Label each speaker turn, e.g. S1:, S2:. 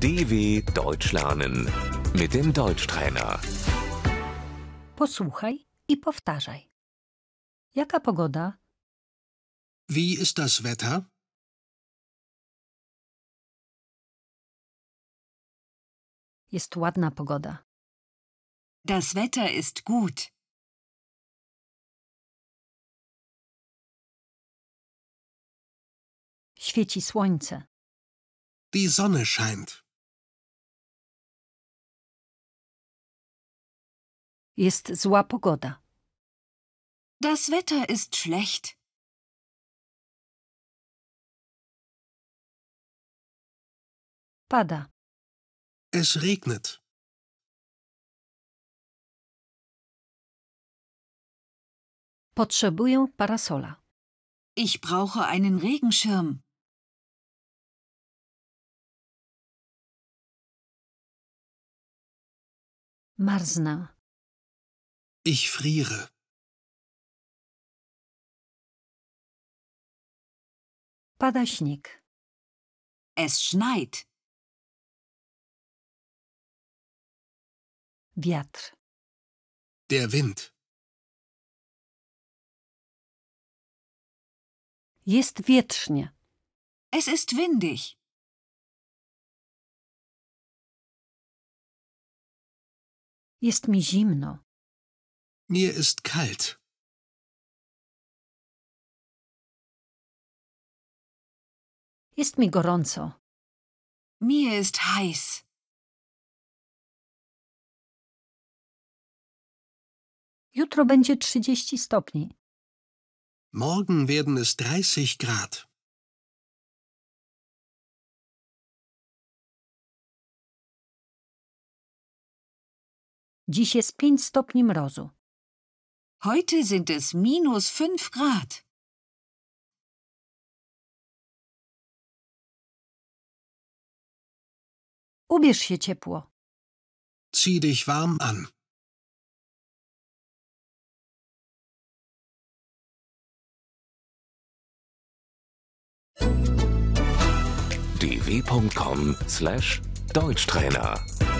S1: DW Deutsch lernen mit dem Deutschtrainer.
S2: Posłuchaj i powtarzaj. Jaka pogoda?
S3: Wie ist das Wetter?
S2: Jest ładna pogoda.
S4: Das Wetter ist gut.
S2: Świeci słońce.
S3: Die Sonne scheint.
S2: Jest zła pogoda.
S4: Das Wetter ist schlecht.
S2: Pada.
S3: Es regnet.
S2: Potrzebuję parasola.
S4: Ich brauche einen Regenschirm.
S2: Marznę.
S3: Ich friere.
S2: Pada śnieg.
S4: Es schneit.
S2: Wiatr.
S3: Der Wind.
S2: Jest wietrznie.
S4: Es ist windig.
S2: Jest mi zimno.
S3: Mir ist kalt.
S2: Jest mi gorąco.
S4: Mir ist heiß.
S2: Jutro będzie 30 stopni.
S3: Morgen werden es 30 Grad.
S2: Dziś jest 5 stopni mrozu.
S4: Heute sind es minus 5 Grad.
S2: Ubierz się ciepło.
S3: Zieh dich warm an.
S1: dw.com/deutschtrainer